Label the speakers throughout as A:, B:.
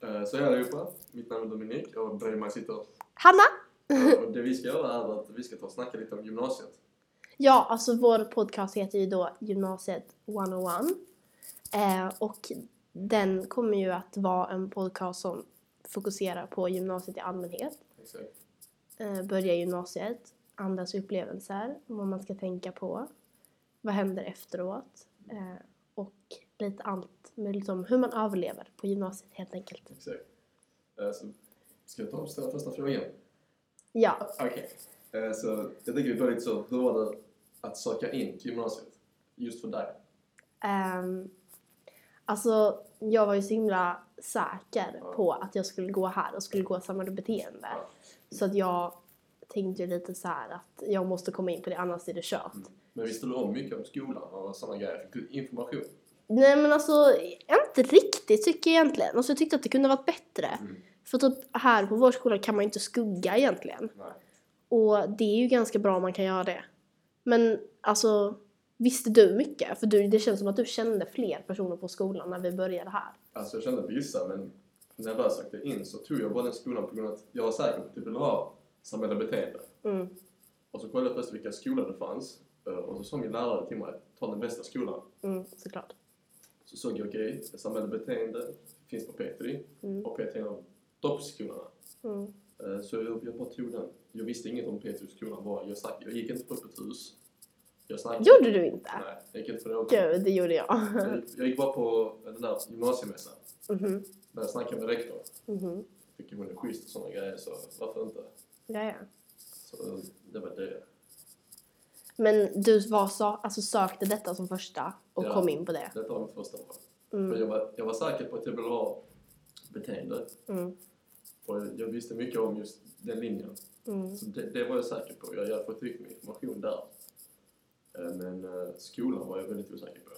A: Eh, Så hej allihopa, mitt namn är Dominik och bredvid mig sitter
B: Hanna!
A: eh, och det vi ska göra är att vi ska ta och snacka lite om gymnasiet.
B: Ja, alltså vår podcast heter ju då Gymnasiet 101. Eh, och den kommer ju att vara en podcast som fokuserar på gymnasiet i allmänhet.
A: Exakt.
B: Eh, börja gymnasiet, andras upplevelser, vad man ska tänka på, vad händer efteråt eh, och lite allt möjligt om hur man överlever på gymnasiet helt enkelt.
A: Exakt. Eh, Så ska jag ta och ställa första frågan?
B: Ja,
A: Okej. Eh, Så jag tänker vi börjar lite så, hur var det att söka in till gymnasiet? Just för dig?
B: Ehm, alltså, jag var ju så himla säker på att jag skulle gå här och skulle gå samma beteende.
A: Ja.
B: Så att jag tänkte ju lite så här att jag måste komma in på det, annars är det kört.
A: Men visste du om mycket om skolan och sådana grejer? Fick du information?
B: Nej men alltså, inte riktigt tycker jag egentligen. Alltså, jag tyckte att det kunde varit bättre.
A: Mm.
B: För typ här på vår skola kan man ju inte skugga egentligen.
A: Nej.
B: Och det är ju ganska bra om man kan göra det. Men alltså, visste du mycket? För du, det känns som att du kände fler personer på skolan när vi började här.
A: Alltså jag kände vissa, men när jag väl sökte in så tog jag bara den skolan på grund av att jag var säker på att det ville vara samhälleliga beteende.
B: Mm.
A: Och så kollade jag först vilka skolor det fanns eh, och så sa min lärare till mig ta den bästa skolan.
B: Mm, såklart.
A: Så såg jag okej, okay, samhälleliga beteende finns på P3
B: Mm.
A: och P3 är en av toppskolorna.
B: Mm.
A: Eh, Så jag, jag bara tog den. Jag visste inget om P3-skolan bara. Jag, snack, jag gick inte på öppet hus. Jag snackade...
B: Gjorde du inte?
A: Nej, jag gick inte på något.
B: Gud, det gjorde jag.
A: Jag, gick- jag gick bara på den där gymnasiemässan.
B: Mhm,
A: Där jag snackade med rektorn.
B: mhm.
A: Tycker hon är schysst och sådana grejer så varför inte?
B: Ja, ja.
A: Så eh, det var det.
B: Men du var så, alltså sökte detta som första och
A: Ja.
B: kom in på det?
A: Detta var mitt första val. För
B: Mm.
A: jag var, jag var säker på att jag ville ha beteende.
B: Mm.
A: Och jag visste mycket om just den linjen.
B: Mm.
A: Så det, det var jag säker på. Jag hade fått tillräckligt med information där. Eh, Men eh, skolan var jag väldigt osäker på.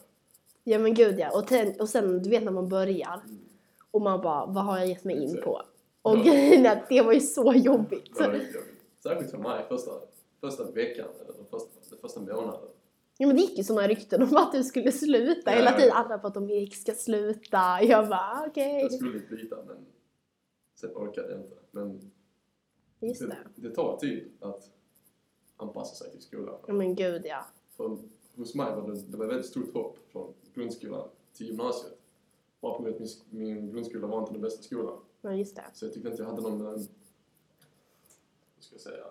B: Ja men gud ja. Och, ten, och sen, du vet när man börjar och man bara, vad har jag gett mig in
A: Exakt.
B: på? Och
A: Ja.
B: grejen är att det var ju så jobbigt.
A: Det var riktigt jobbigt. Särskilt för mig första, första veckan, eller den första, den första månaden.
B: Ja men det gick ju sådana rykten om att du skulle sluta
A: Ja,
B: hela
A: ja.
B: tiden. Alla bara, de ska sluta. Jag bara, okej.
A: Jag skulle byta men sen orkade jag inte. Men
B: Just det.
A: det tar tid att anpassa sig till skolan.
B: Ja men gud ja.
A: För hos mig var det, det var ett väldigt stort hopp från grundskolan till gymnasiet. Bara på grund av att min, min grundskola var inte den bästa skolan.
B: Ja just det.
A: Så jag tyckte inte jag hade någon, eh, vad ska jag säga,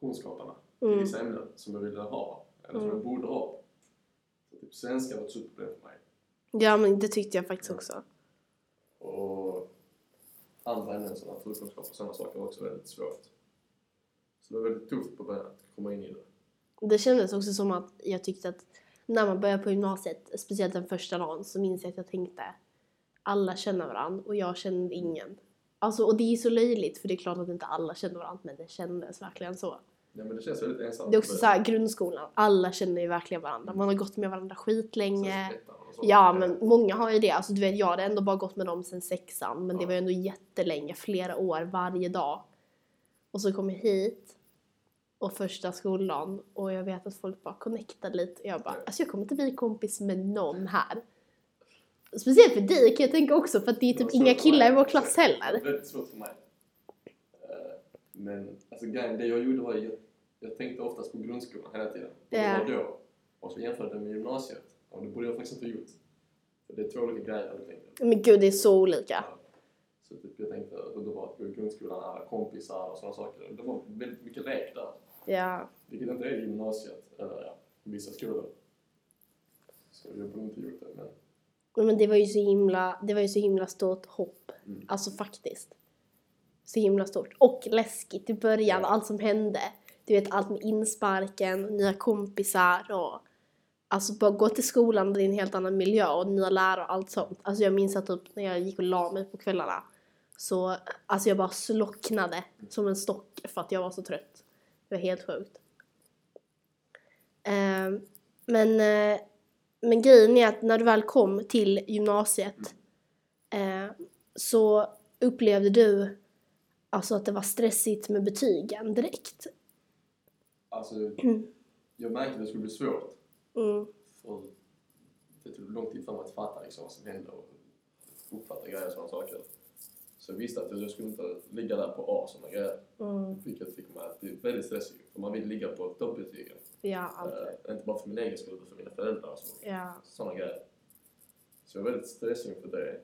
A: kunskaperna i
B: Mm.
A: vissa ämnen som jag ville ha, eller som
B: Mm.
A: jag borde ha. Så typ svenska var ett superproblem för mig.
B: Ja men det tyckte jag faktiskt också.
A: Och andra ämnen som naturkunskap och sådana saker var också väldigt svårt. Så det var väldigt tufft på början att komma in i det.
B: Det kändes också som att jag tyckte att när man börjar på gymnasiet, speciellt den första dagen, så minns jag att jag tänkte alla känner varandra och jag kände ingen. Alltså, och det är så löjligt för det är klart att inte alla känner varandra men det kändes verkligen så.
A: Ja, men det känns väldigt ensamt.
B: Det är också så här grundskolan, alla känner ju verkligen varandra. Man har gått med varandra skitlänge. Ja men många har ju det. Alltså, du vet, jag hade ändå bara gått med dem sen sexan men det
A: Ja.
B: var ju ändå jättelänge, flera år varje dag. Och så kom jag hit och första skolan och jag vet att folk bara connectade lite. Jag bara,
A: Ja.
B: alltså jag kommer inte bli kompis med någon här. Speciellt för dig kan jag tänka också för att det är typ inga killar i vår klass
A: Det
B: heller.
A: var väldigt svårt för mig. Eh, Men alltså grejen, det jag gjorde var jag, jag tänkte oftast på grundskolan hela tiden. Då
B: Ja.
A: och då. Och så jämförde jag med gymnasiet. Och det borde jag faktiskt inte ha gjort. För det är två olika grejer jag tänkte.
B: Men gud det är så olika.
A: Så typ jag tänkte hur det var att gå i grundskolan, alla kompisar och sådana saker. Det var väldigt mycket lek där.
B: Ja.
A: Vilket inte är i gymnasiet, eller ja, vissa skolor. Så jag borde inte ha gjort det, men
B: Men det var ju så himla, det var ju så himla stort hopp.
A: Mm.
B: Alltså faktiskt. Så himla stort. Och läskigt i början,
A: Ja.
B: allt som hände. Du vet allt med insparken, nya kompisar och Alltså bara gå till skolan och det är en helt annan miljö och nya lärare och allt sånt. Alltså jag minns att typ när jag gick och la mig på kvällarna så alltså jag bara slocknade som en stock för att jag var så trött. Det var helt sjukt. Ehm, men, eh, men grejen är att när du väl kom till gymnasiet eh, så upplevde du alltså att det var stressigt med betygen direkt.
A: alltså jag märkte att det skulle bli svårt.
B: Mm,
A: För det tog lång tid för mig att fatta liksom, vad som hände och uppfatta grejer och sådana saker. Så jag visste att jag skulle inte ligga där på A sådana grejer.
B: Mm.
A: Vilket fick mig att bli väldigt stressig. För man vill ligga på toppbetygen.
B: Ja, alltid.
A: Eh, inte bara för min egen skull utan för mina föräldrar och så.
B: Ja.
A: sådana grejer. Så jag var väldigt stressig inför det.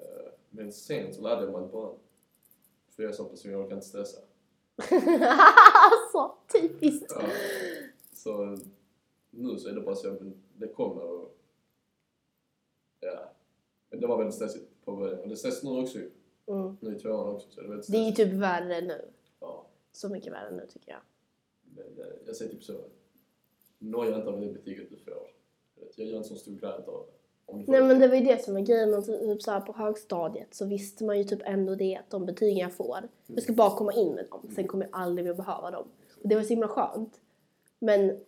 A: Eh, Men sen så lärde jag mig att bara... För jag är en sån person, jag orkar inte stressa.
B: alltså, typiskt.
A: Ja. Så nu så är det bara så att det kommer och... Ja. Men det var väldigt stressigt på början. Och det är stressigt nu också ju.
B: Mm.
A: Nu i tvåan också så är det väldigt
B: Det är ju
A: stressigt.
B: typ värre nu.
A: Ja.
B: Så mycket värre nu tycker jag.
A: Men eh, jag säger typ så. Noja inte av det betyget du får. Jag gör en sån stor grej av det. Om du får-
B: Nej men det var ju det som var grejen. att Typ så här, på högstadiet så visste man ju typ ändå det att de betygen jag får, jag ska bara komma in med dem. Sen kommer jag aldrig mer behöva dem. Och det var så himla skönt. Men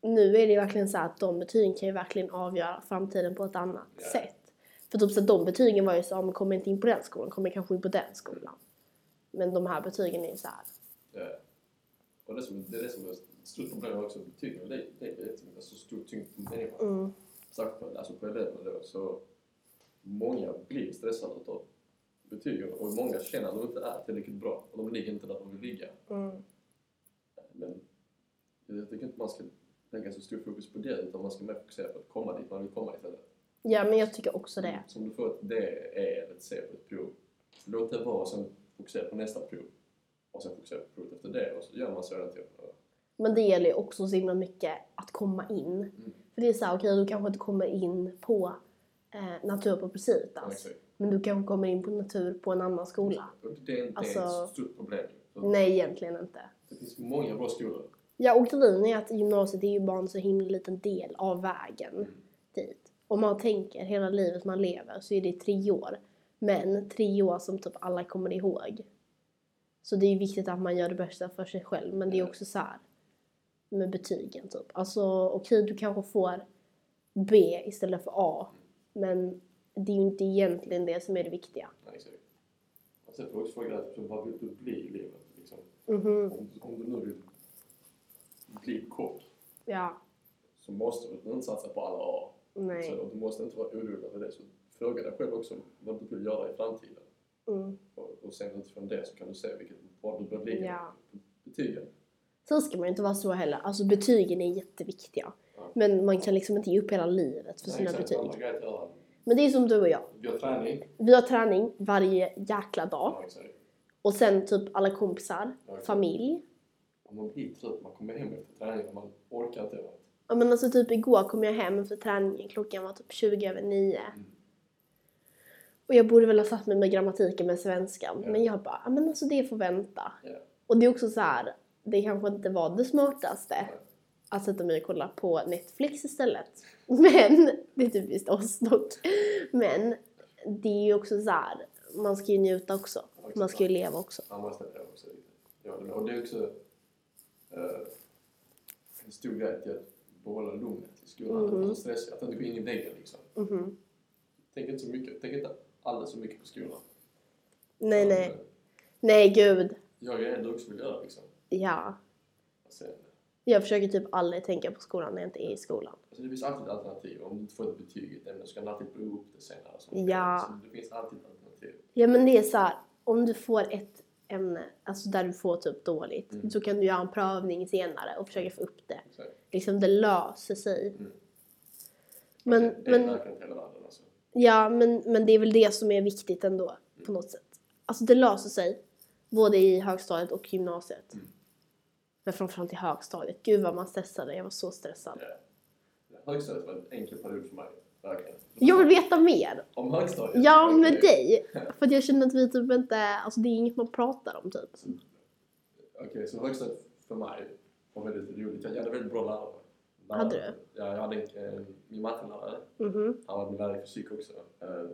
B: nu är det ju verkligen så här att de betygen kan ju verkligen avgöra framtiden på ett annat
A: Ja.
B: sätt. För typ så här, de betygen var ju så, om kommer jag inte in på den skolan, kommer jag kanske in på den skolan. Men de här betygen är ju så här.
A: Ja. Och det, som, det är det som är ett stort problem också med betygen. Det, det är jättemycket, alltså stor tyngd på människan.
B: Mm,
A: Särskilt på, alltså på eleverna då. Så många blir stressade utav betygen och många känner att de inte är tillräckligt bra och de ligger inte där de vill ligga.
B: mm,
A: Men jag tycker inte man ska lägga så stor fokus på det utan man ska mer fokusera på att komma dit man vill komma istället.
B: Ja men jag tycker också det.
A: Så om du får ett D, E eller ett C på ett prov, låt det vara och sen fokusera på nästa prov. Och sen fokusera på provet efter det och så gör man så hela tiden.
B: Men det gäller ju också så himla mycket att komma in. För det är så här, okej du kanske inte kommer in på eh, natur på Presitas.
A: Exakt.
B: Men du kanske kommer in på natur på en annan skola.
A: Och Det är inte
B: Alltså-
A: ett stort problem. För
B: Nej egentligen inte.
A: Det finns många bra skolor.
B: Ja och grejen är att gymnasiet är ju bara en så himla liten del av vägen dit. Om man tänker hela livet man lever så är det tre år. Men tre år som typ alla kommer ihåg. Så det är ju viktigt att man gör det bästa för sig själv men det är också så här med betygen typ. Alltså okej du kanske får B istället för A men det är ju inte egentligen det som är det viktiga.
A: Nej, exakt. Och sen får jag Alltså, också fråga dig, liksom, vad vill du bli i livet? Liksom?
B: Mhm,
A: Om, om du nu vill bli kock
B: ja,
A: så måste du inte satsa på alla A.
B: nej.
A: Så, och du måste inte vara orolig över det. Så fråga dig själv också vad du vill göra i framtiden.
B: Mm,
A: Och, och sen utifrån det så kan du se vilket, var du bör ligga
B: ja.
A: på betygen.
B: Sen ska man ju inte vara så heller. Alltså betygen är jätteviktiga.
A: Ja.
B: Men man kan liksom inte ge upp hela livet för
A: Nej,
B: sina
A: exakt,
B: betyg.
A: Andra grejer att göra.
B: Men det är som du och jag.
A: Gör träning.
B: Vi har träning varje jäkla dag.
A: Ja, exakt.
B: Och sen typ alla kompisar,
A: Ja, exakt.
B: familj.
A: Om man blir trött, man kommer hem efter träning och man orkar inte. va?
B: Ja men alltså typ igår kom jag hem efter träningen. Klockan var typ 20 över 9.
A: Mm.
B: Och jag borde väl ha satt mig med grammatiken med svenskan.
A: Ja.
B: Men jag bara, ja men alltså det får vänta.
A: Ja.
B: Och det är också så här, det kanske inte var det smartaste
A: Nej.
B: att sätta mig och kolla på Netflix istället. Men, det är typiskt oss dock. Men det är ju också så här, man ska ju njuta också. Man ska ju leva också.
A: andra ställen också. Ja, det- och det är också eh, en stor grej till att behålla lugnet i skolan.
B: Mhm.
A: Alltså stress, att inte gå in i väggen liksom.
B: Mhm.
A: Tänk inte så mycket, tänk inte alldeles så mycket på skolan.
B: Nej,
A: Utan,
B: nej.
A: eh,
B: Nej, gud.
A: Jag är ändå också vill göra liksom.
B: Ja.
A: Och Sen,
B: Jag försöker typ aldrig tänka på skolan när jag inte är i skolan.
A: alltså det finns alltid alternativ. Om du inte får ett betyg i ett ämne så kan du alltid plugga upp det senare. Så
B: Ja.
A: Så det finns alltid alternativ.
B: Ja, men det är så här, om du får ett ämne, alltså där du får typ dåligt, så kan du göra en prövning senare och försöka få upp det.
A: Så,
B: Liksom, det löser sig.
A: Mm.
B: Men,
A: det det är
B: men,
A: verkligen inte hela världen alltså.
B: ja, men, men det är väl det som är viktigt ändå, på något sätt. Alltså, det löser sig, både i högstadiet och gymnasiet.
A: Mm.
B: Men framförallt i högstadiet. Gud vad man stressade, jag var så stressad.
A: Ja. Högstadiet var en enkel period för mig. Verkligen.
B: Jag vill veta mer!
A: Om högstadiet?
B: Ja,
A: Okej.
B: med dig! För att jag känner att vi typ inte, alltså det är inget man pratar om typ.
A: Mm. Okej, så högstadiet för mig var väldigt roligt. Jag hade väldigt bra lärare. lärare.
B: Hade du?
A: Ja, jag hade en, eh, min mattelärare.
B: Mhm.
A: Han var min lärare i fysik också. Eh, han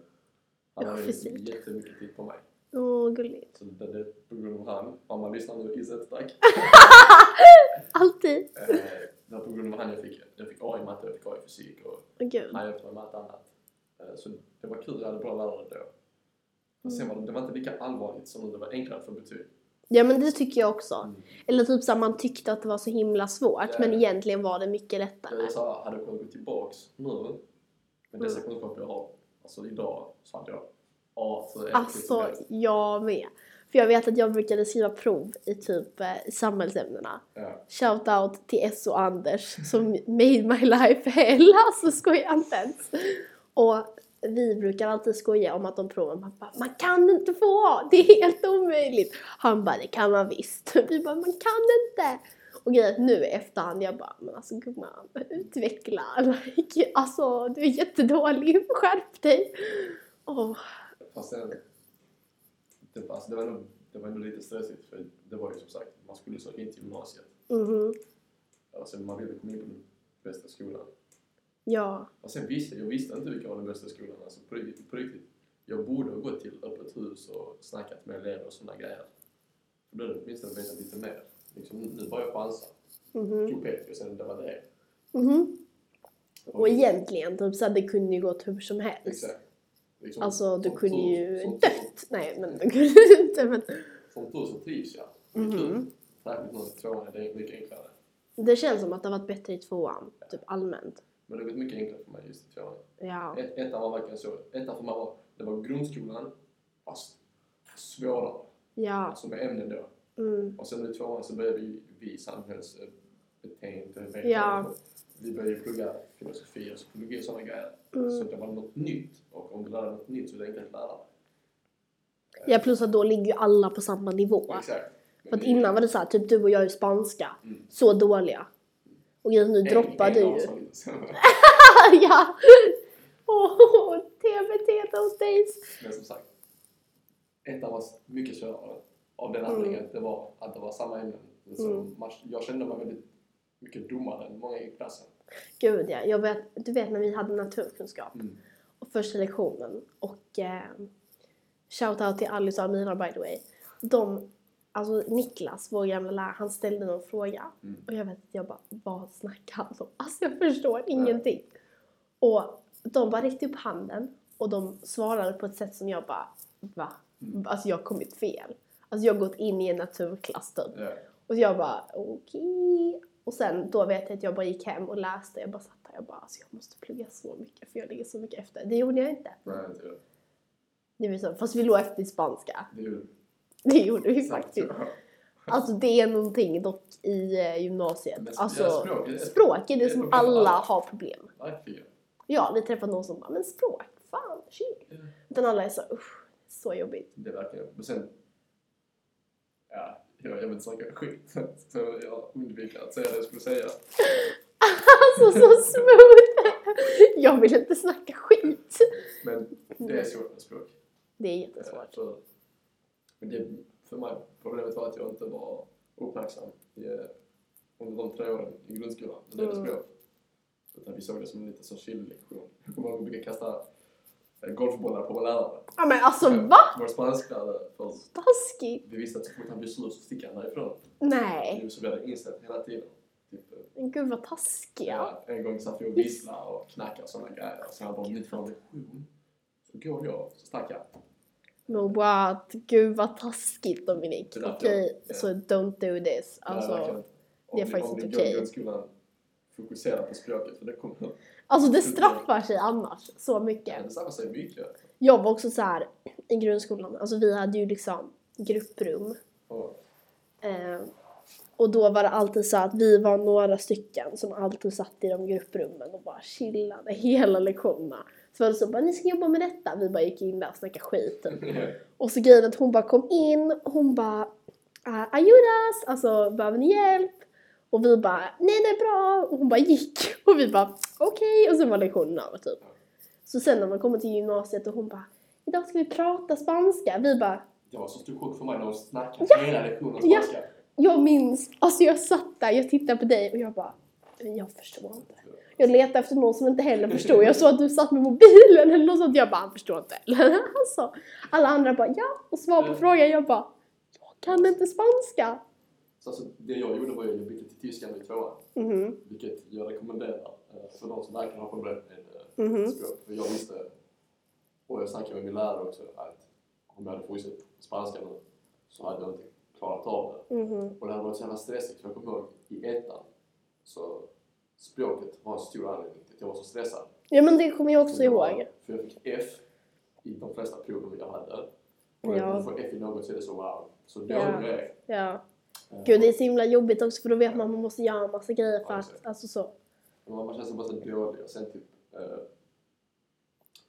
B: Ja,
A: hade
B: fysik.
A: jättemycket tid på mig.
B: Åh, gulligt.
A: Så det, det är på grund av han. Mamma lyssnar nu, Izzet, tack.
B: Alltid!
A: Eh, det var på grund av han jag fick, jag fick A i matte, jag fick A i fysik och
B: Åh gud.
A: han hjälpte mig med allt annat. Eh, så det var kul, jag hade bra lärare då. Men
B: Mm.
A: sen var det, det var inte lika allvarligt som nu, det var enklare för betyg.
B: Ja, men det tycker jag också.
A: Mm.
B: Eller typ såhär, man tyckte att det var så himla svårt,
A: Ja.
B: men egentligen var det mycket lättare.
A: Jag sa, hade jag kunnat gå tillbaks nu med dessa
B: Mm.
A: kunskaper jag har, alltså idag, så hade jag Ja, så äckligt som
B: Alltså,
A: helst.
B: jag med. För jag vet att jag brukade skriva prov i typ eh, i samhällsämnena.
A: Ja.
B: Shout out till S och Anders som made my life hell. Alltså skoja inte ens. Och vi brukar alltid skoja om att de proven man, bara, man kan inte få, det är helt omöjligt. Han bara, det kan man visst. Vi bara, man kan inte. Och grejen är att nu i efterhand, jag bara, men alltså gumman, utveckla. Like, alltså du är jättedålig, skärp dig. Åh,
A: Fast sen, det, alltså, det, var nog, det var nog lite stressigt för det var ju som sagt, man skulle ju söka in till gymnasiet.
B: mhm,
A: Alltså man ville komma in på den bästa skolan.
B: ja.
A: Och sen visste jag visste inte vilken var den bästa skolan, alltså på riktigt. På riktigt. Jag borde ha gått till öppet hus och snackat med elever och sådana grejer. Då blev det åtminstone vetat lite mer. Liksom, nu var jag chansad.
B: Mhm.
A: Tog Petri och sen det var det.
B: Mhm. Och egentligen, typ såhär, det kunde ju gått hur som helst.
A: Exakt. Liksom,
B: Alltså du
A: som
B: kunde
A: tur-
B: ju
A: som tur-
B: dött. Nej men du kunde du inte men
A: Som tur så trivs jag.
B: Mhm.
A: Särskilt nu i tvåan, det är mycket enklare.
B: det känns som att det har varit bättre i tvåan. Typ allmänt.
A: Men det har blivit mycket enklare för mig just i tvåan.
B: Ja.
A: Ett, ettan var verkligen så. Ettan för mig var, det var grundskolan, fast svårare.
B: Ja.
A: Alltså med ämnen då.
B: Mm.
A: Och sen i tvåan så började vi, vi samhällsbeteende.
B: Ja.
A: Vi började ju plugga filosofi och psykologi och sådana grejer.
B: Mm.
A: Så det var något nytt. Och om du lärde dig något nytt så är det enkelt att lära dig.
B: ja plus att då ligger ju alla på samma nivå.
A: Exakt. Men
B: För att
A: vi-
B: innan var det såhär, typ du och jag i spanska.
A: Mm. alltså.
B: Så dåliga. Och grejen nu
A: en-
B: droppar
A: en
B: du
A: av
B: ju.
A: oss var lite sämre.
B: ja! Åh, TBT those days!
A: Men som sagt, ettan var mycket svårare av den
B: Mm.
A: anledningen att det var, att det var samma ämnen. Så
B: Mm.
A: man, jag kände mig väldigt mycket dummare än många i klassen.
B: Gud ja, jag vet, du vet när vi hade naturkunskap.
A: Mm.
B: och första lektionen. Och eh, shoutout till Alice och Amina by the way. De, alltså Niklas, vår gamla lärare, han ställde någon fråga.
A: Mm.
B: Och jag vet att jag bara, vad snackar han om? Alltså jag förstår ingenting. Och de bara räckte upp handen och de svarade på ett sätt som jag bara, va?
A: Mm.
B: Alltså jag har kommit fel. Alltså jag har gått in i en naturklass typ.
A: Ja.
B: Och jag bara okej. Och sen då vet jag att jag bara gick hem och läste. Jag bara satt där jag bara alltså jag måste plugga så mycket för jag ligger så mycket efter. Det gjorde jag inte.
A: Nej, inte jag.
B: Det var så, fast vi låg efter i spanska.
A: Det gjorde
B: Det gjorde vi
A: exakt
B: faktiskt.
A: så.
B: Alltså det är någonting dock i eh, gymnasiet.
A: Men
B: Alltså
A: ja, språk, det är-
B: språk är
A: det är
B: det som
A: problem för
B: alla
A: alla.
B: har problem.
A: Verkligen.
B: Ja, vi träffat någon som bara men språk, fan, shit.
A: Ja.
B: Utan alla är så usch, så jobbigt.
A: Det verkar Men sen... Ja, jag, jag vill inte snacka skit. Så jag undviker att säga det jag skulle säga.
B: Alltså så smooth! Jag vill inte snacka skit.
A: Men det är svårt med språk.
B: Det är jättesvårt.
A: Eh, För, men det, för mig, problemet var att jag inte var uppmärksam i, eh, under de tre åren i grundskolan när det gällde
B: Mm.
A: språk. Utan vi såg det som en liten sån chill-lektion. Jag kommer ihåg att vi brukade kasta eh, golfbollar på vår lärare. Eh,
B: Ja men alltså va?
A: Vår spansklärare. för
B: Taskigt!
A: Vi visste att så fort han blev sur så sticker han därifrån.
B: Nej.
A: Nu så vi hade insett hela tiden. Typ, eh,
B: Gud vad taskiga.
A: Ja, en gång satt vi och visslade och knackade och sådana grejer. Och sen bara, om ni får en lektion så går jag så stack jag.
B: Men what? Gud vad taskigt Dominik.
A: Det där-
B: Okej,
A: ja.
B: så don't do this.
A: Nej, verkligen.
B: Alltså,
A: Om
B: det är
A: ni-
B: faktiskt
A: om ni
B: inte
A: går i
B: okej.
A: grundskolan, fokusera på språket för det kommer...
B: alltså det straffar sig annars så mycket.
A: Det straffar sig mycket.
B: Jag var också så här i grundskolan, alltså vi hade ju liksom grupprum.
A: Och,
B: Eh, och då var det alltid så att vi var några stycken som alltid satt i de grupprummen och bara chillade hela lektionerna. Så var det så bara, ni ska jobba med detta. Vi bara gick in där och snackade skit. Typ. Och så grejen att hon bara kom in och hon bara uh, Ayudas, alltså behöver ni hjälp? Och vi bara nej det är bra och hon bara gick och vi bara okej och sen var lektionen över typ. Så sen när man kommer till gymnasiet och hon bara idag ska vi prata spanska. Vi bara
A: det var så stor chock för mig när hon snackade hela lektionen
B: Ja.
A: spanska.
B: jag minns, alltså jag satt där, jag tittade på dig och jag bara jag förstår inte. Jag letade efter någon som inte heller förstod. Jag såg att du satt med mobilen eller något sånt. Jag bara, han förstår inte heller. Alltså, alla andra bara, ja. Och svar på frågan. Jag bara, jag kan inte spanska.
A: Så alltså, det jag gjorde var ju att jag bytte till tyska nu i tvåan.
B: Mhm,
A: Vilket jag rekommenderar eh, för de som verkligen har problem med eh,
B: mhm.
A: språk. För jag visste, och jag snackade med min lärare också, att om jag hade fortsatt på spanska nu så hade jag inte klarat av det.
B: mhm.
A: Och det hade varit så jävla stressigt, för jag kommer ihåg i ettan så språket var en stor anledning till att jag var så stressad.
B: Ja men det kommer jag också
A: För jag var-
B: ihåg.
A: För jag fick F i de flesta proven jag hade. Och
B: Ja.
A: för F i något så är det så wow, så dålig
B: Ja.
A: jag är.
B: ja.
A: Eh,
B: Gud, det är så himla jobbigt också för då vet man att man måste göra en massa grejer för
A: Ja,
B: att,
A: exakt.
B: alltså så.
A: Man, man känner sig bara så dålig och sen typ eh,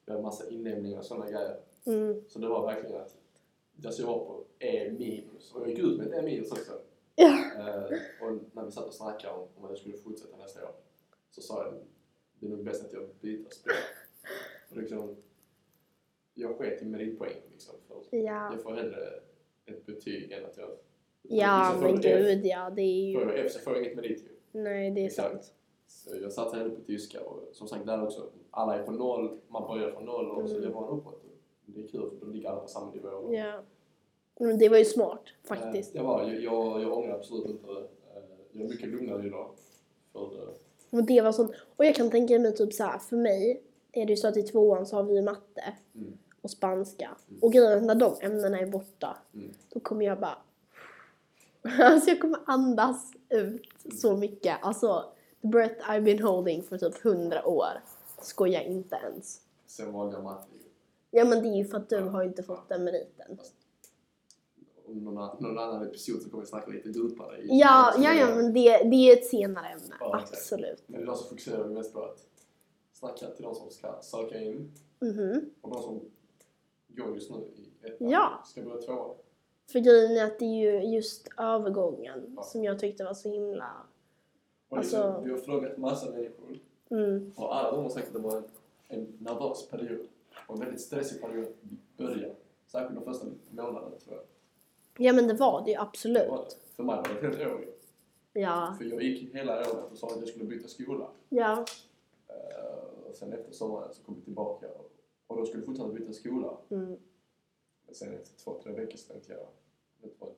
A: jag har massa inlämningar och sådana grejer.
B: Mm.
A: Så det var verkligen att alltså jag var på E minus och jag gick ut med ett E minus också.
B: Ja.
A: Eh, och när vi satt och snackade om, om att jag skulle fortsätta nästa år så sa jag det är nog bäst att jag byter spel. Och liksom, jag sket i meritpoäng liksom. För
B: Ja,
A: jag får hellre ett betyg än att jag...
B: ja
A: liksom, får
B: men
A: jag ett F-
B: gud ja, det är
A: Får
B: ju...
A: jag F så får jag inget merit ju.
B: Nej, det är
A: Exakt.
B: sant.
A: Så jag satsar hellre på tyska och som sagt där också, alla är på noll, man börjar från noll och så
B: Mm.
A: det var en uppåt. Det är kul för då ligger alla på samma nivå. Och,
B: Ja. Men det var ju smart faktiskt.
A: Eh, det var, jag, jag, jag ångrar absolut inte. Eh, jag är mycket lugnare idag. För, eh,
B: Och det var sånt. Och jag kan tänka mig typ så här, för mig är det ju så att i tvåan så har vi ju matte
A: Mm.
B: och spanska.
A: Mm.
B: Och grejen är att när de ämnena är borta,
A: Mm.
B: då kommer jag bara... Alltså jag kommer andas ut så mycket. Alltså, the breath I've been holding för typ hundra år. Skoja inte ens.
A: sen valde jag matte ju.
B: Ja men det är ju för att du har ju inte fått den meriten.
A: Om någon, an- någon annan episod så kommer vi snacka lite djupare. i-
B: Ja, ja, ja men det, det är ett senare ämne.
A: Ja, exakt.
B: Absolut.
A: Men idag så fokuserar vi mest på att snacka till de som ska söka in
B: Mhm.
A: och de som går just nu i ettan
B: Ja.
A: ska börja tvåan.
B: För grejen är att det är ju just övergången
A: Ja.
B: som jag tyckte var så himla...
A: Och liksom,
B: Alltså-
A: Vi har frågat massa människor
B: Mm.
A: och alla de har sagt att det var en, en nervös period och en väldigt stressig period i början. Särskilt de första månaderna tror jag.
B: Ja men det var det ju
A: Det var
B: absolut.
A: det. För mig var det ett helt år.
B: Ja.
A: För jag gick hela året och sa att jag skulle byta skola.
B: Ja.
A: Eh, och sen efter sommaren så kom jag tillbaka och, och då skulle jag fortfarande byta skola.
B: Mm.
A: Men sen efter två, tre veckor så tänkte jag vet du vad,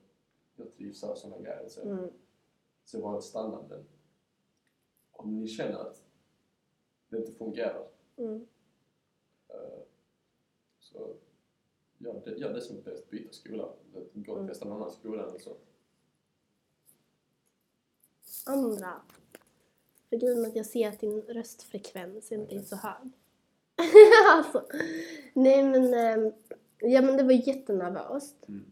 A: jag trivs här och sådana grejer. Så,
B: Mm.
A: så var det stannande. Om ni känner att det inte fungerar
B: Mm.
A: eh, så gör det, gör det som är bäst, byta skola. Gå och
B: Mm.
A: testa någon annan skola eller så.
B: Andra. För grejen är att jag ser att din röstfrekvens inte är
A: Okej.
B: så hög. alltså. Nej men... ehm, Ja men det var jättenervöst.
A: Mm.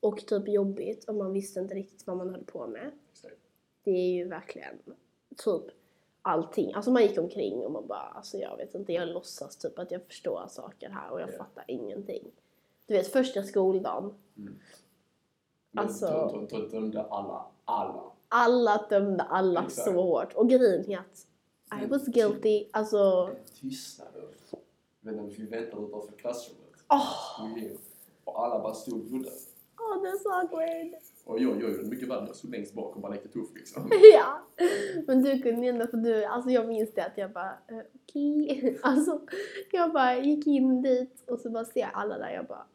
B: Och typ jobbigt och man visste inte riktigt vad man höll på med.
A: Exakt.
B: det är ju verkligen typ allting. Alltså man gick omkring och man bara, alltså jag vet inte, jag låtsas typ att jag förstår saker här och jag
A: Ja.
B: fattar ingenting. Du vet första skoldagen,
A: Men
B: Alltså-
A: då- då- då dömde alla, alla.
B: alla dömde alla
A: Exakt.
B: så hårt och grejen är att I
A: Mm.
B: was guilty, alltså
A: En tystnad. och- Jag vet inte, vi väntade utanför klassrummet.
B: åh,
A: Gick in. Och alla bara stod och glodde.
B: åh det är så awkward.
A: Och jag, jag gjorde mycket värre. Jag stod längst bak och bara lekte tuff liksom.
B: ja, men du kunde ju ändå för du, alltså jag minns det att jag bara eh, okej, alltså jag bara gick in dit och så bara ser jag alla där, jag bara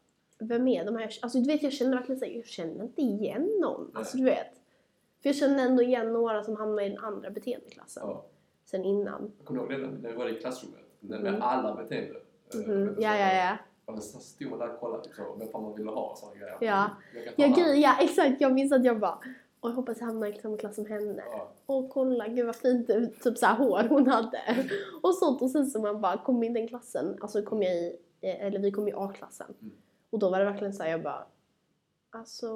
B: vem är de här? Alltså du vet jag känner verkligen såhär, jag känner inte igen någon, alltså du vet. För jag kände ändå igen några som hamnade i den andra beteendeklassen
A: Ja.
B: sen innan.
A: Jag kommer ihåg det när- när vi var i klassrummet. När med
B: Mhm.
A: alla beteende. Eh,
B: Mhm.
A: men
B: Ja,
A: så-
B: ja, ja.
A: Och då så stod man där och kollade liksom, vem fan man ville ha och sådana grejer.
B: Ja.
A: Jag kan ta
B: Ja,
A: alla.
B: gud, ja exakt, jag minns att jag bara och jag hoppas jag hamnar i samma klass som henne.
A: Ja.
B: Åh kolla, gud vad fint det- typ så här hår hon hade. Och sånt och sen så man bara kom in i den klassen, alltså kom jag i, eh, eller vi kom i A-klassen.
A: Mm.
B: Och då var det verkligen så här, jag bara, alltså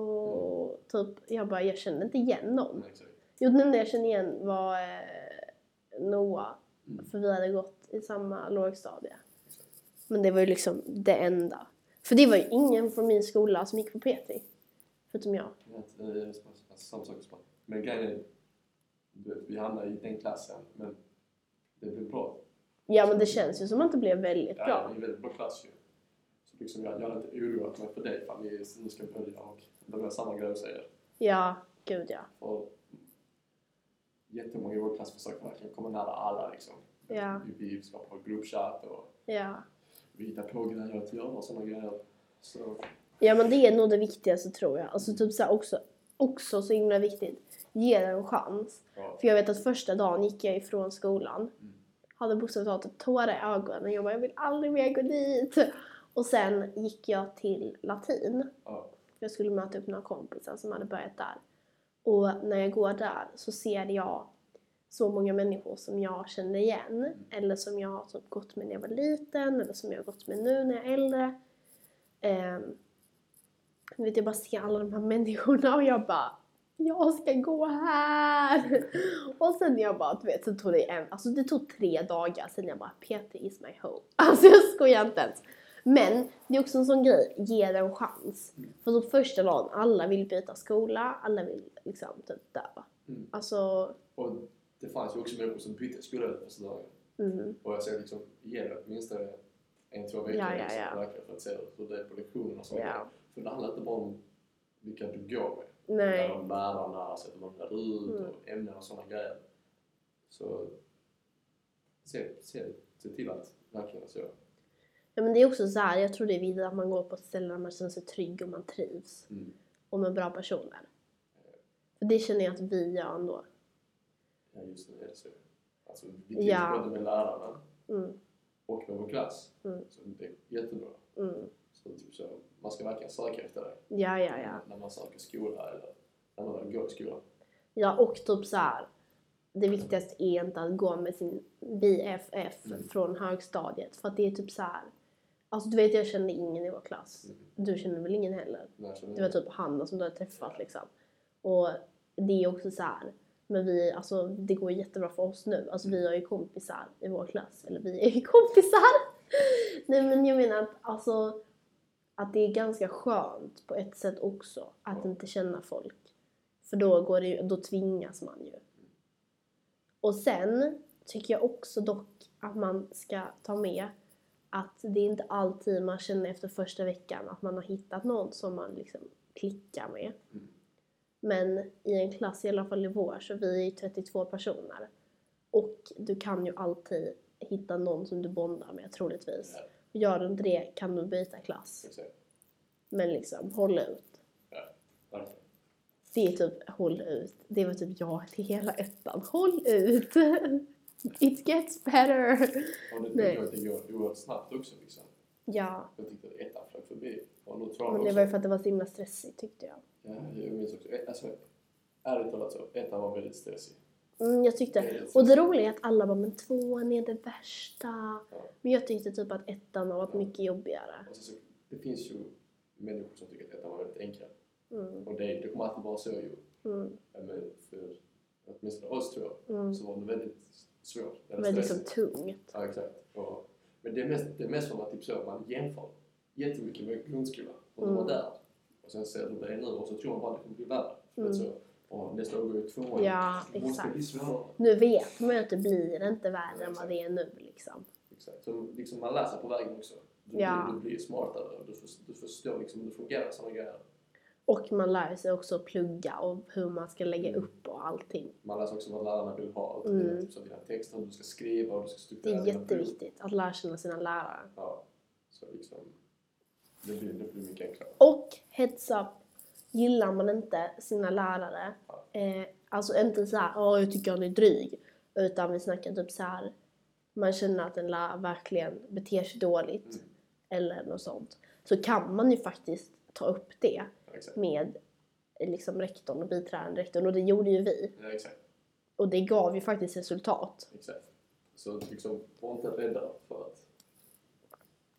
B: typ, jag bara, jag kände inte igen någon.
A: Mm, exakt.
B: Jo den enda jag kände igen var eh, Noah,
A: Mm.
B: för vi hade gått i samma lågstadie. Men det var ju liksom det enda. För det var ju ingen från min skola som gick på PT. Förutom jag.
A: Jag vet, eh, jag vet, alltså, Samma sak som Men grejen är, du vet, vi hamnade i den klassen, men det blev bra.
B: Ja men det känns ju som att det blev väldigt bra.
A: Ja, det är en väldigt bra klass ju. Så liksom jag, jag hade inte oroat mig för dig ifall ni nu ska börja och det var samma grej hos er.
B: Ja, gud ja.
A: För jättemånga i vår klass försökte verkligen komma nära alla liksom.
B: Ja.
A: Vi skapade gruppchatt och
B: Ja.
A: vi hittade på grejer att göra och sådana grejer. Så,
B: ja, men det är nog det viktigaste tror jag. Alltså typ så här också, också så himla viktigt, ge det en chans.
A: ja.
B: För jag vet att första dagen gick jag ifrån skolan,
A: Mm.
B: hade bokstavligt talat typ tårar i ögonen. Jag bara, jag vill aldrig mer gå dit. Och sen gick jag till latin.
A: ja.
B: Jag skulle möta upp några kompisar som hade börjat där. Och när jag går där så ser jag så många människor som jag kände igen eller som jag har typ gått med när jag var liten eller som jag har gått med nu när jag är äldre. Ehm, du vet, jag bara ser alla de här människorna och jag bara jag ska gå här! Och sen jag bara, du vet, så tog det en, alltså det tog tre dagar sen jag bara Peter is my home. Alltså jag skojar inte ens. Men det är också en sån grej, ge det en chans. För typ första dagen, alla vill byta skola, alla vill liksom typ där va.
A: Mm.
B: Alltså,
A: Och det fanns ju också människor som bytte skola den första dagen.
B: mm,
A: Och jag säger liksom, ge det åtminstone en, två veckor
B: Ja, ja,
A: liksom,
B: ja.
A: verkligen för att se hur det är på lektionerna och sånt.
B: ja.
A: För det handlar inte bara om vilka du går med.
B: Nej.
A: Utan om lärarna, sättet man lär ut
B: Mm.
A: och ämnen och sådana grejer. Så se, se, se till att verkligen så.
B: Ja, men det är också så här, jag tror det är viktigt att man går på ett ställe där man känner sig trygg och man trivs.
A: Mm.
B: Och med bra personer. För det känner jag att vi gör ändå.
A: Ja, just nu är det så. Alltså, vi trivs
B: Ja.
A: både med lärarna
B: Mm,
A: och med vår klass.
B: Mm.
A: Så det är jättebra.
B: mm.
A: Så, typ så, man ska verkligen söka efter det.
B: Ja, ja, ja.
A: När man söker skola eller när man väl går i skolan.
B: Ja, och typ så här. Det viktigaste är inte att gå med sin BFF
A: Mm.
B: från högstadiet. För att det är typ så här. Alltså du vet, jag kände ingen i vår klass.
A: Mm.
B: Du känner väl ingen heller?
A: När som
B: Det var typ Hanna som du har träffat liksom. Och det är också så här. Men vi, alltså det går jättebra för oss nu. Alltså
A: Mm.
B: vi har ju kompisar i vår klass. Eller vi är ju kompisar! Nej men jag menar att alltså att det är ganska skönt på ett sätt också att
A: Ja.
B: inte känna folk. För då, går det ju, då tvingas man ju. Och sen tycker jag också dock att man ska ta med att det är inte alltid man känner efter första veckan att man har hittat någon som man liksom klickar med.
A: Mm.
B: Men i en klass, i alla fall i vår, så vi är ju 32 personer. Och du kan ju alltid hitta någon som du bondar med troligtvis.
A: Ja,
B: Gör du inte det kan du byta klass.
A: ska vi se.
B: Men liksom, håll ut.
A: Verkligen.
B: Det är typ håll ut. Det var typ jag till hela ettan. Håll ut! It gets better!
A: Och det,
B: Nej.
A: det, går, det går oerhört snabbt också. Liksom.
B: Ja,
A: Jag tyckte att ettan flög förbi. Och nu tror jag
B: men det
A: också.
B: var ju för att det var så himla stressigt tyckte jag.
A: Ja, jag minns också. Ett- Alltså, ärligt talat så, ettan var väldigt stressig.
B: Mm, jag
A: Det är
B: tyckte.
A: helt
B: Och det roliga är att alla bara men tvåan är det värsta.
A: Ja.
B: Men jag tyckte typ att ettan har varit mycket jobbigare.
A: Och så, så, det finns ju människor som tycker att ettan var väldigt enkel.
B: Mm,
A: Och det, det kommer alltid vara så ju.
B: mm,
A: Ja, Men för åtminstone oss tror jag,
B: mm.
A: så var det väldigt svårt. Eller
B: Men liksom
A: stressigt.
B: tungt.
A: Ja, exakt. Och, men det är mest, det är mest för att typ så, att man jämför jättemycket med grundskolan. Och mm.
B: Mm.
A: var där. Och sen ser du det nu och så tror man bara att det kommer bli värre. Mm.
B: Mm.
A: Så, och nästa år går ju tvåan.
B: Ja,
A: Det måste
B: exakt.
A: bli svårare.
B: Nu vet man ju att det blir inte värre än vad det är nu liksom.
A: Exakt. Så liksom man lär sig på vägen också. Du,
B: Ja.
A: du, du blir smartare och du, för, du förstår liksom hur det fungerar och sådana grejer.
B: Och man lär sig också att plugga och hur man ska lägga
A: Mm.
B: upp och allting.
A: Man lär sig också vad lärarna vill ha. Och
B: Mm.
A: typ så dina texter, hur du ska skriva och hur du ska
B: Det
A: strukturera
B: är
A: dina prov.
B: jätteviktigt att lära känna sina lärare.
A: Ja. Så liksom, det blir, det blir mycket enklare.
B: Och heads up, gillar man inte sina lärare, eh, alltså inte så här, åh jag tycker han är dryg, utan vi snackar typ så här, man känner att en lärare verkligen beter sig dåligt
A: Mm.
B: eller något sånt, så kan man ju faktiskt ta upp det
A: Ja, exakt.
B: med eh, liksom rektorn och biträdande rektorn och det gjorde ju vi
A: Ja, exakt.
B: och det gav ju faktiskt resultat.
A: Exakt. Så liksom, var inte rädda för att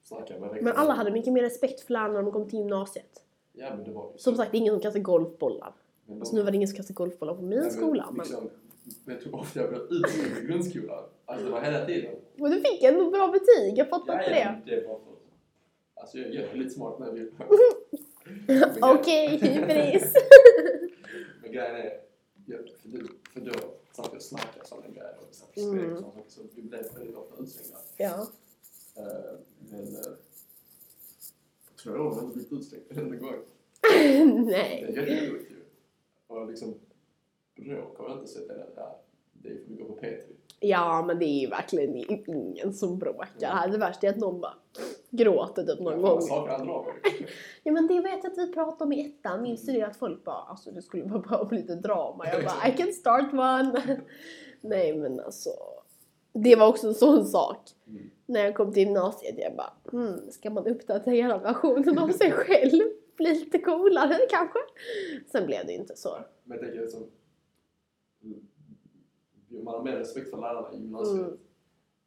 A: snacka med rektorn.
B: Men alla hade mycket mer respekt för lärarna när de kom till gymnasiet.
A: Ja, men det var ju...
B: Som sagt, det är ingen som kastar golfbollar.
A: men de-
B: Alltså nu var det ingen som kastade golfbollar på min
A: Nej, men
B: skola. Men...
A: Liksom, vet du hur ofta jag blev utslängd i grundskolan? Alltså det var hela tiden.
B: men du fick ändå bra betyg, jag fattar inte det.
A: men det var för... Alltså jag, jag är lite smart när jag vill.
B: Okej, hybris.
A: Men grejen är, jag, för, du, för då satt jag och snackade och sådana grejer och satt och
B: Mm.
A: skrek och sånt också. Vi blev väldigt ofta utslängda.
B: ja.
A: Eh, men... eh, Jag tror jag har inte blivit utslängd en enda gång. Det är
B: Nej.
A: jätteroligt ju. Och liksom, bråk har jag inte sett än. Ja, det är för mycket på Petri.
B: Ja, men det är ju verkligen ingen som bråkar här. Det värsta är att någon bara gråter typ någon gång.
A: Alla saker han drar med.
B: Ja, men det vet jag att vi pratade om i ettan. Minns du det? Att folk bara, alltså det skulle vara bra med lite drama. Jag bara, I can start one. Nej, men alltså. Det var också en sån sak.
A: Mm.
B: när jag kom till gymnasiet, jag bara hmm, ska man uppdatera versionen av sig själv? Bli lite coolare kanske? Sen blev det ju inte så.
A: Men jag tänker som... ju- liksom, mm, man har mer respekt för lärarna i gymnasiet.
B: Mm.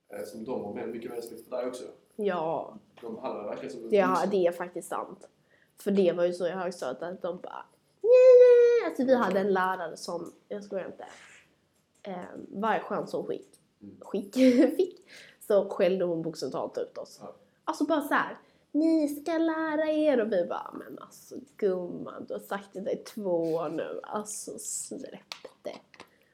A: Eh, Som de har mer, mycket mer respekt för dig också.
B: Ja.
A: De behandlar dig verkligen som en
B: Ja,
A: vuxen.
B: det är faktiskt sant. För det var ju så i högstadiet att de bara nej, nej. Alltså vi hade en lärare som, jag skojar inte, eh, varje chans hon fick,
A: Mm.
B: skick, fick så skällde hon bokstavligt talat ut oss.
A: Ja.
B: Alltså bara så här. Ni ska lära er och vi bara, men alltså gumman du har sagt det i två år nu, alltså släpp det.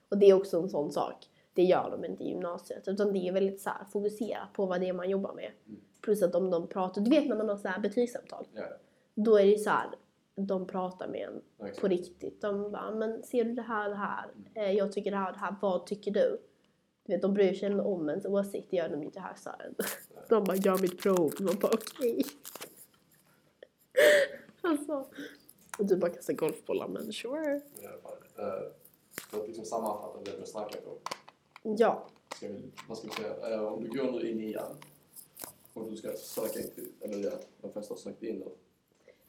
B: Och det är också en sån sak, det gör de inte i gymnasiet utan det är väldigt så här fokuserat på vad det är man jobbar med.
A: Mm.
B: Plus att om de pratar, du vet när man har så här betygssamtal,
A: Ja,
B: då är det ju så här, de pratar med en
A: ja, exakt.
B: på riktigt. De bara, men ser du det här och det här? Eh, jag tycker det här och det här. Vad tycker du? Du vet, de bryr sig ändå om ens åsikt. Det gör de inte här Sören. De bara, gör mitt prov. Man bara, okej. alltså. Och du bara kastar golfbollar, men sure.
A: i alla fall. Eh, För att liksom sammanfatta det vi snackar på.
B: Ja.
A: Ska vi, vad ska vi säga? Eh, Om du går nu in i nian och du ska söka in till, eller ja, de flesta har sökt in nu.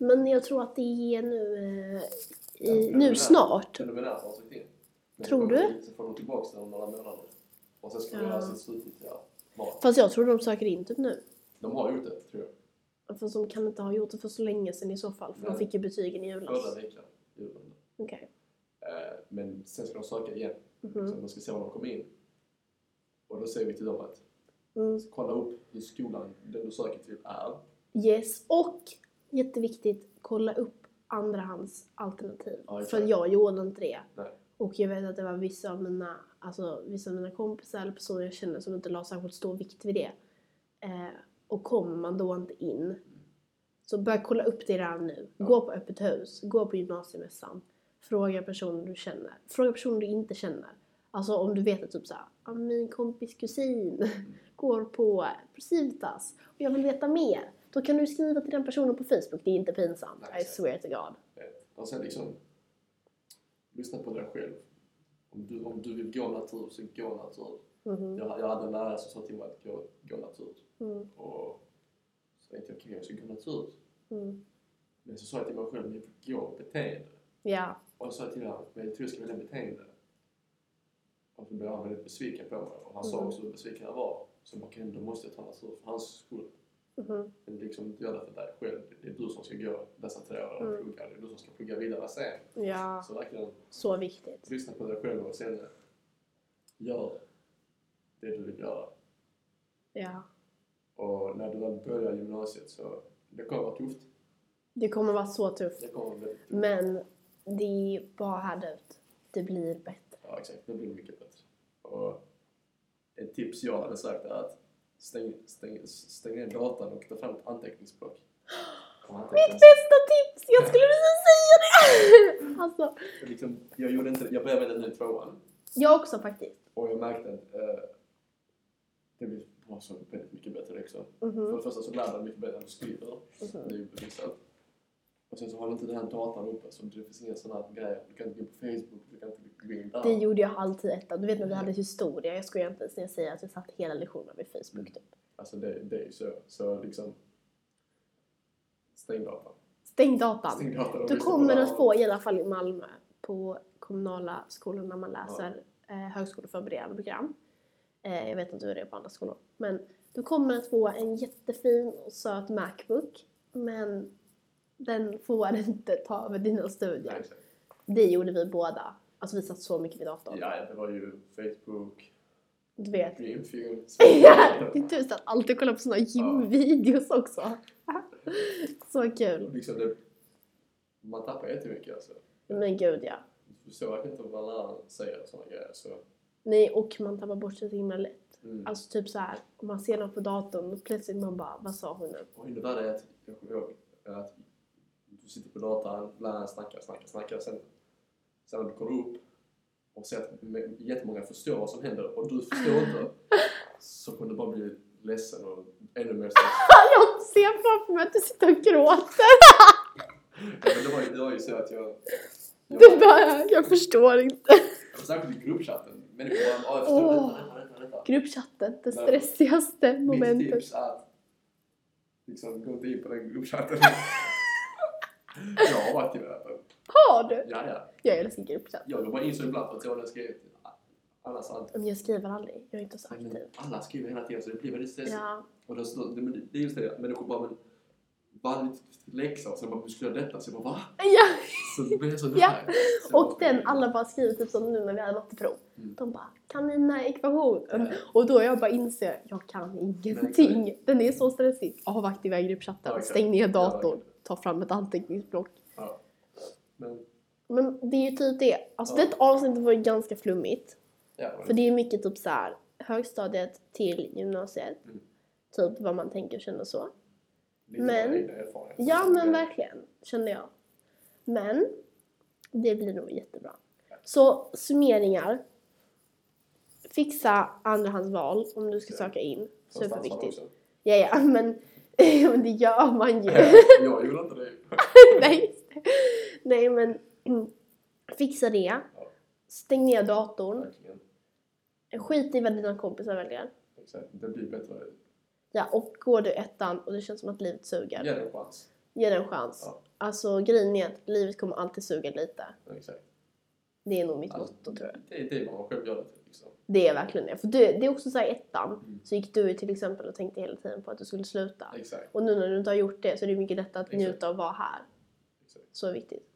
B: Men jag tror att det är nu, eh, i,
A: Ja,
B: nu snart.
A: Preliminärt har de sökt in. Men
B: Tror
A: så
B: du?
A: kommer de- Så får de tillbaka den om några månader. Och sen ska de
B: Ja.
A: göra sitt slutgiltiga val.
B: Fast jag tror de söker in typ nu.
A: De har gjort det, tror jag.
B: För de kan inte ha gjort det för så länge sedan i så fall. För de
A: Nej.
B: fick ju betygen i julas.
A: Förra veckan, julen.
B: Okej.
A: Eh, Men sen ska de söka igen.
B: Mhm.
A: Så de ska se om de kommer in. Och då säger vi till dem att
B: Mm.
A: kolla upp hur skolan, den du söker till, är.
B: Yes, och jätteviktigt, kolla upp andrahandsalternativ.
A: Ja, exakt.
B: För jag gjorde inte det.
A: Nej.
B: Och jag vet att det var vissa av mina, alltså, vissa av mina kompisar eller personer jag känner som inte la särskilt stor vikt vid det. Eh, och kommer man då inte in, så börja kolla upp det redan nu.
A: Ja.
B: Gå på öppet hus, gå på gymnasiemässan. Fråga personer du känner. Fråga personer du inte känner. Alltså om du vet att typ såhär, "Ja, min kompis kusin går på Civitas och jag vill veta mer. Då kan du skriva till den personen på Facebook, det är inte pinsamt.
A: Nej,
B: I swear to God.
A: Eh, Och sen liksom, lyssna på dig själv. Om du, om du vill gå natur, så gå natur.
B: Mhm.
A: Jag, jag hade en lärare som sa till mig att gå, gå natur.
B: Mm,
A: Och så tänkte jag, okej, jag ska gå natur.
B: mm.
A: Men så sa jag till mig själv, men jag vill gå beteende.
B: Ja,
A: Och så sa jag till honom, men jag tror jag ska välja beteende. Och så blev han väldigt besviken på mig. Och han sa
B: Mhm.
A: också hur besviken han var. Så jag okej, då måste jag ta natur för hans skull.
B: mhm.
A: Men liksom, du gör det för dig själv. Det är du som ska gå dessa tre år och
B: Mm.
A: plugga. Det är du som ska plugga vidare sen.
B: ja.
A: Så verkligen
B: Så viktigt.
A: lyssna på dig själv och sen gör det du vill göra.
B: Ja.
A: Och när du väl börjar gymnasiet så det kommer vara tufft.
B: Det kommer vara så tufft.
A: Det kommer vara väldigt tufft.
B: Men det är bara härda ut. Det blir bättre.
A: Ja, exakt. Det blir mycket bättre. Och ett tips jag hade sagt är att stäng, stäng, stäng ner datorn och ta fram ett anteckningsblock. Och anteckna.
B: Bästa tips! Jag skulle precis säga det! Alltså,
A: Liksom, jag, gjorde inte, jag började med den nu i tvåan
B: jag också faktiskt.
A: och jag märkte att eh, det blev bra så väldigt mycket bättre också. För
B: Mhm,
A: det första så lär man mycket bättre när du skriver.
B: mhm.
A: Det är ju bevisat. Och sen så har du inte den här datan uppe så det finns inga sådana här grejer. Du kan inte gå in på Facebook, du kan inte gå in där.
B: Det gjorde jag alltid i ettan. Du vet när vi hade historia, jag skojar inte ens när jag säger att jag satt hela lektionen vid Facebook typ.
A: Alltså det, det är ju så. Så liksom... Stäng datan.
B: Stäng datan!
A: Stäng datan och
B: Du
A: lyssna på
B: kommer att
A: läraren.
B: få, i alla fall i Malmö, på kommunala skolor när man läser eh, högskoleförberedande program. Eh, jag vet inte hur det är på andra skolor. Men du kommer att få en jättefin och söt Macbook. Men den får inte ta över dina
A: Ja,
B: studier.
A: exakt.
B: Det gjorde vi båda. Alltså vi satt så mycket vid datorn.
A: Ja, det var ju Facebook,
B: Du vet.
A: Dreamfilm,
B: Ja, det är du satt alltid och kollade på såna gymvideos också. så kul.
A: liksom det, Man tappar jättemycket alltså.
B: Men gud ja.
A: Du såg verkligen inte vad läraren säger och sådana grejer. Så,
B: Nej, och man tappar bort sig så himla lätt.
A: mm.
B: Alltså typ så här, om man ser något på datorn och plötsligt man bara, vad sa hon nu?
A: Och ännu värre är att, jag kommer ihåg, att du sitter på datan, läraren snackar, snackar, snackar. Sen, sen när du kommer upp och ser att me- jättemånga förstår vad som händer och du förstår inte så kommer du bara bli ledsen och ännu mer stressad.
B: Jag ser framför mig att du sitter och gråter.
A: Ja, men det, var ju, det var ju så att jag... jag
B: Du bara, jag förstår inte.
A: Särskilt i gruppchatten. Människor bara "Ah, jag förstår
B: Åh.
A: detta, detta, detta, detta.
B: Gruppchatten, det
A: Nej.
B: stressigaste
A: Mitt
B: momentet.
A: tips är att liksom, gå inte in på den gruppchatten. jag har varit i den.
B: Har du?
A: Ja, ja.
B: Jag älskar gruppchatt.
A: Jag går bara in så ibland för att jag ska Annars allt.
B: Men jag skriver aldrig, jag är inte så aktiv.
A: Alla skriver hela tiden så det blir väldigt stressigt.
B: Ja,
A: Och då, så- det, men det är just det, människor bara men vanligt läxa och sen bara vi ska göra detta så jag bara va?
B: ja.
A: Så det blir så
B: Ja.
A: nära. Så
B: Och den alla bara skriver typ som nu när vi hade matteprov.
A: Mm.
B: De bara kan dina ekvationer.
A: Ja.
B: Och då jag bara inser jag kan ingenting. Den är så stressig. Avvakt iväg
A: Ja,
B: gruppchatten,
A: exakt.
B: stäng ner
A: Ja,
B: datorn, ta fram ett anteckningsblock.
A: Men
B: Men det är ju typ det. Alltså
A: Ja. Mm.
B: det avsnittet var ju ganska flummigt.
A: ja,
B: För det är mycket typ så här högstadiet till gymnasiet.
A: Mm.
B: Typ vad man tänker och känner så.
A: lite
B: men-
A: av egna erfarenheter.
B: Ja men verkligen, kände jag. Men det blir nog jättebra. Så summeringar. Fixa andrahandsval om du ska
A: Ja.
B: söka in.
A: Fast ansvar
B: Superviktigt.
A: också.
B: Ja, ja, men men det gör man ju.
A: jag gjorde inte det.
B: Nej, just det. Nej, men mm, fixa det. Stäng ner datorn.
A: Verkligen.
B: Skit i vad dina kompisar väljer.
A: Exakt. Det blir bättre.
B: Ja, och går du ettan och det känns som att livet suger,
A: Ge det en chans.
B: ge det en chans.
A: Ja.
B: Alltså grejen är att livet kommer alltid suga lite.
A: Exakt.
B: Det är nog mitt
A: Alltså,
B: motto tror jag.
A: Det är det man själv gör det till. Liksom.
B: Det är verkligen det. För du, det är också så här i ettan
A: Mm.
B: så gick du ju till exempel och tänkte hela tiden på att du skulle sluta.
A: Exakt.
B: Och nu när du inte har gjort det så är det mycket lättare att
A: Exakt.
B: njuta av att vara här.
A: Exakt.
B: Så viktigt.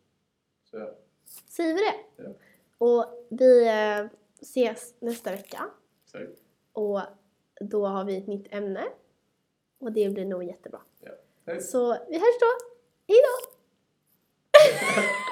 A: Så ja.
B: Säger vi det?
A: Ja.
B: Och vi eh, ses nästa vecka.
A: Exakt.
B: Och då har vi ett nytt ämne. Och det blir nog jättebra.
A: Hej.
B: Så vi hörs då. Hej då!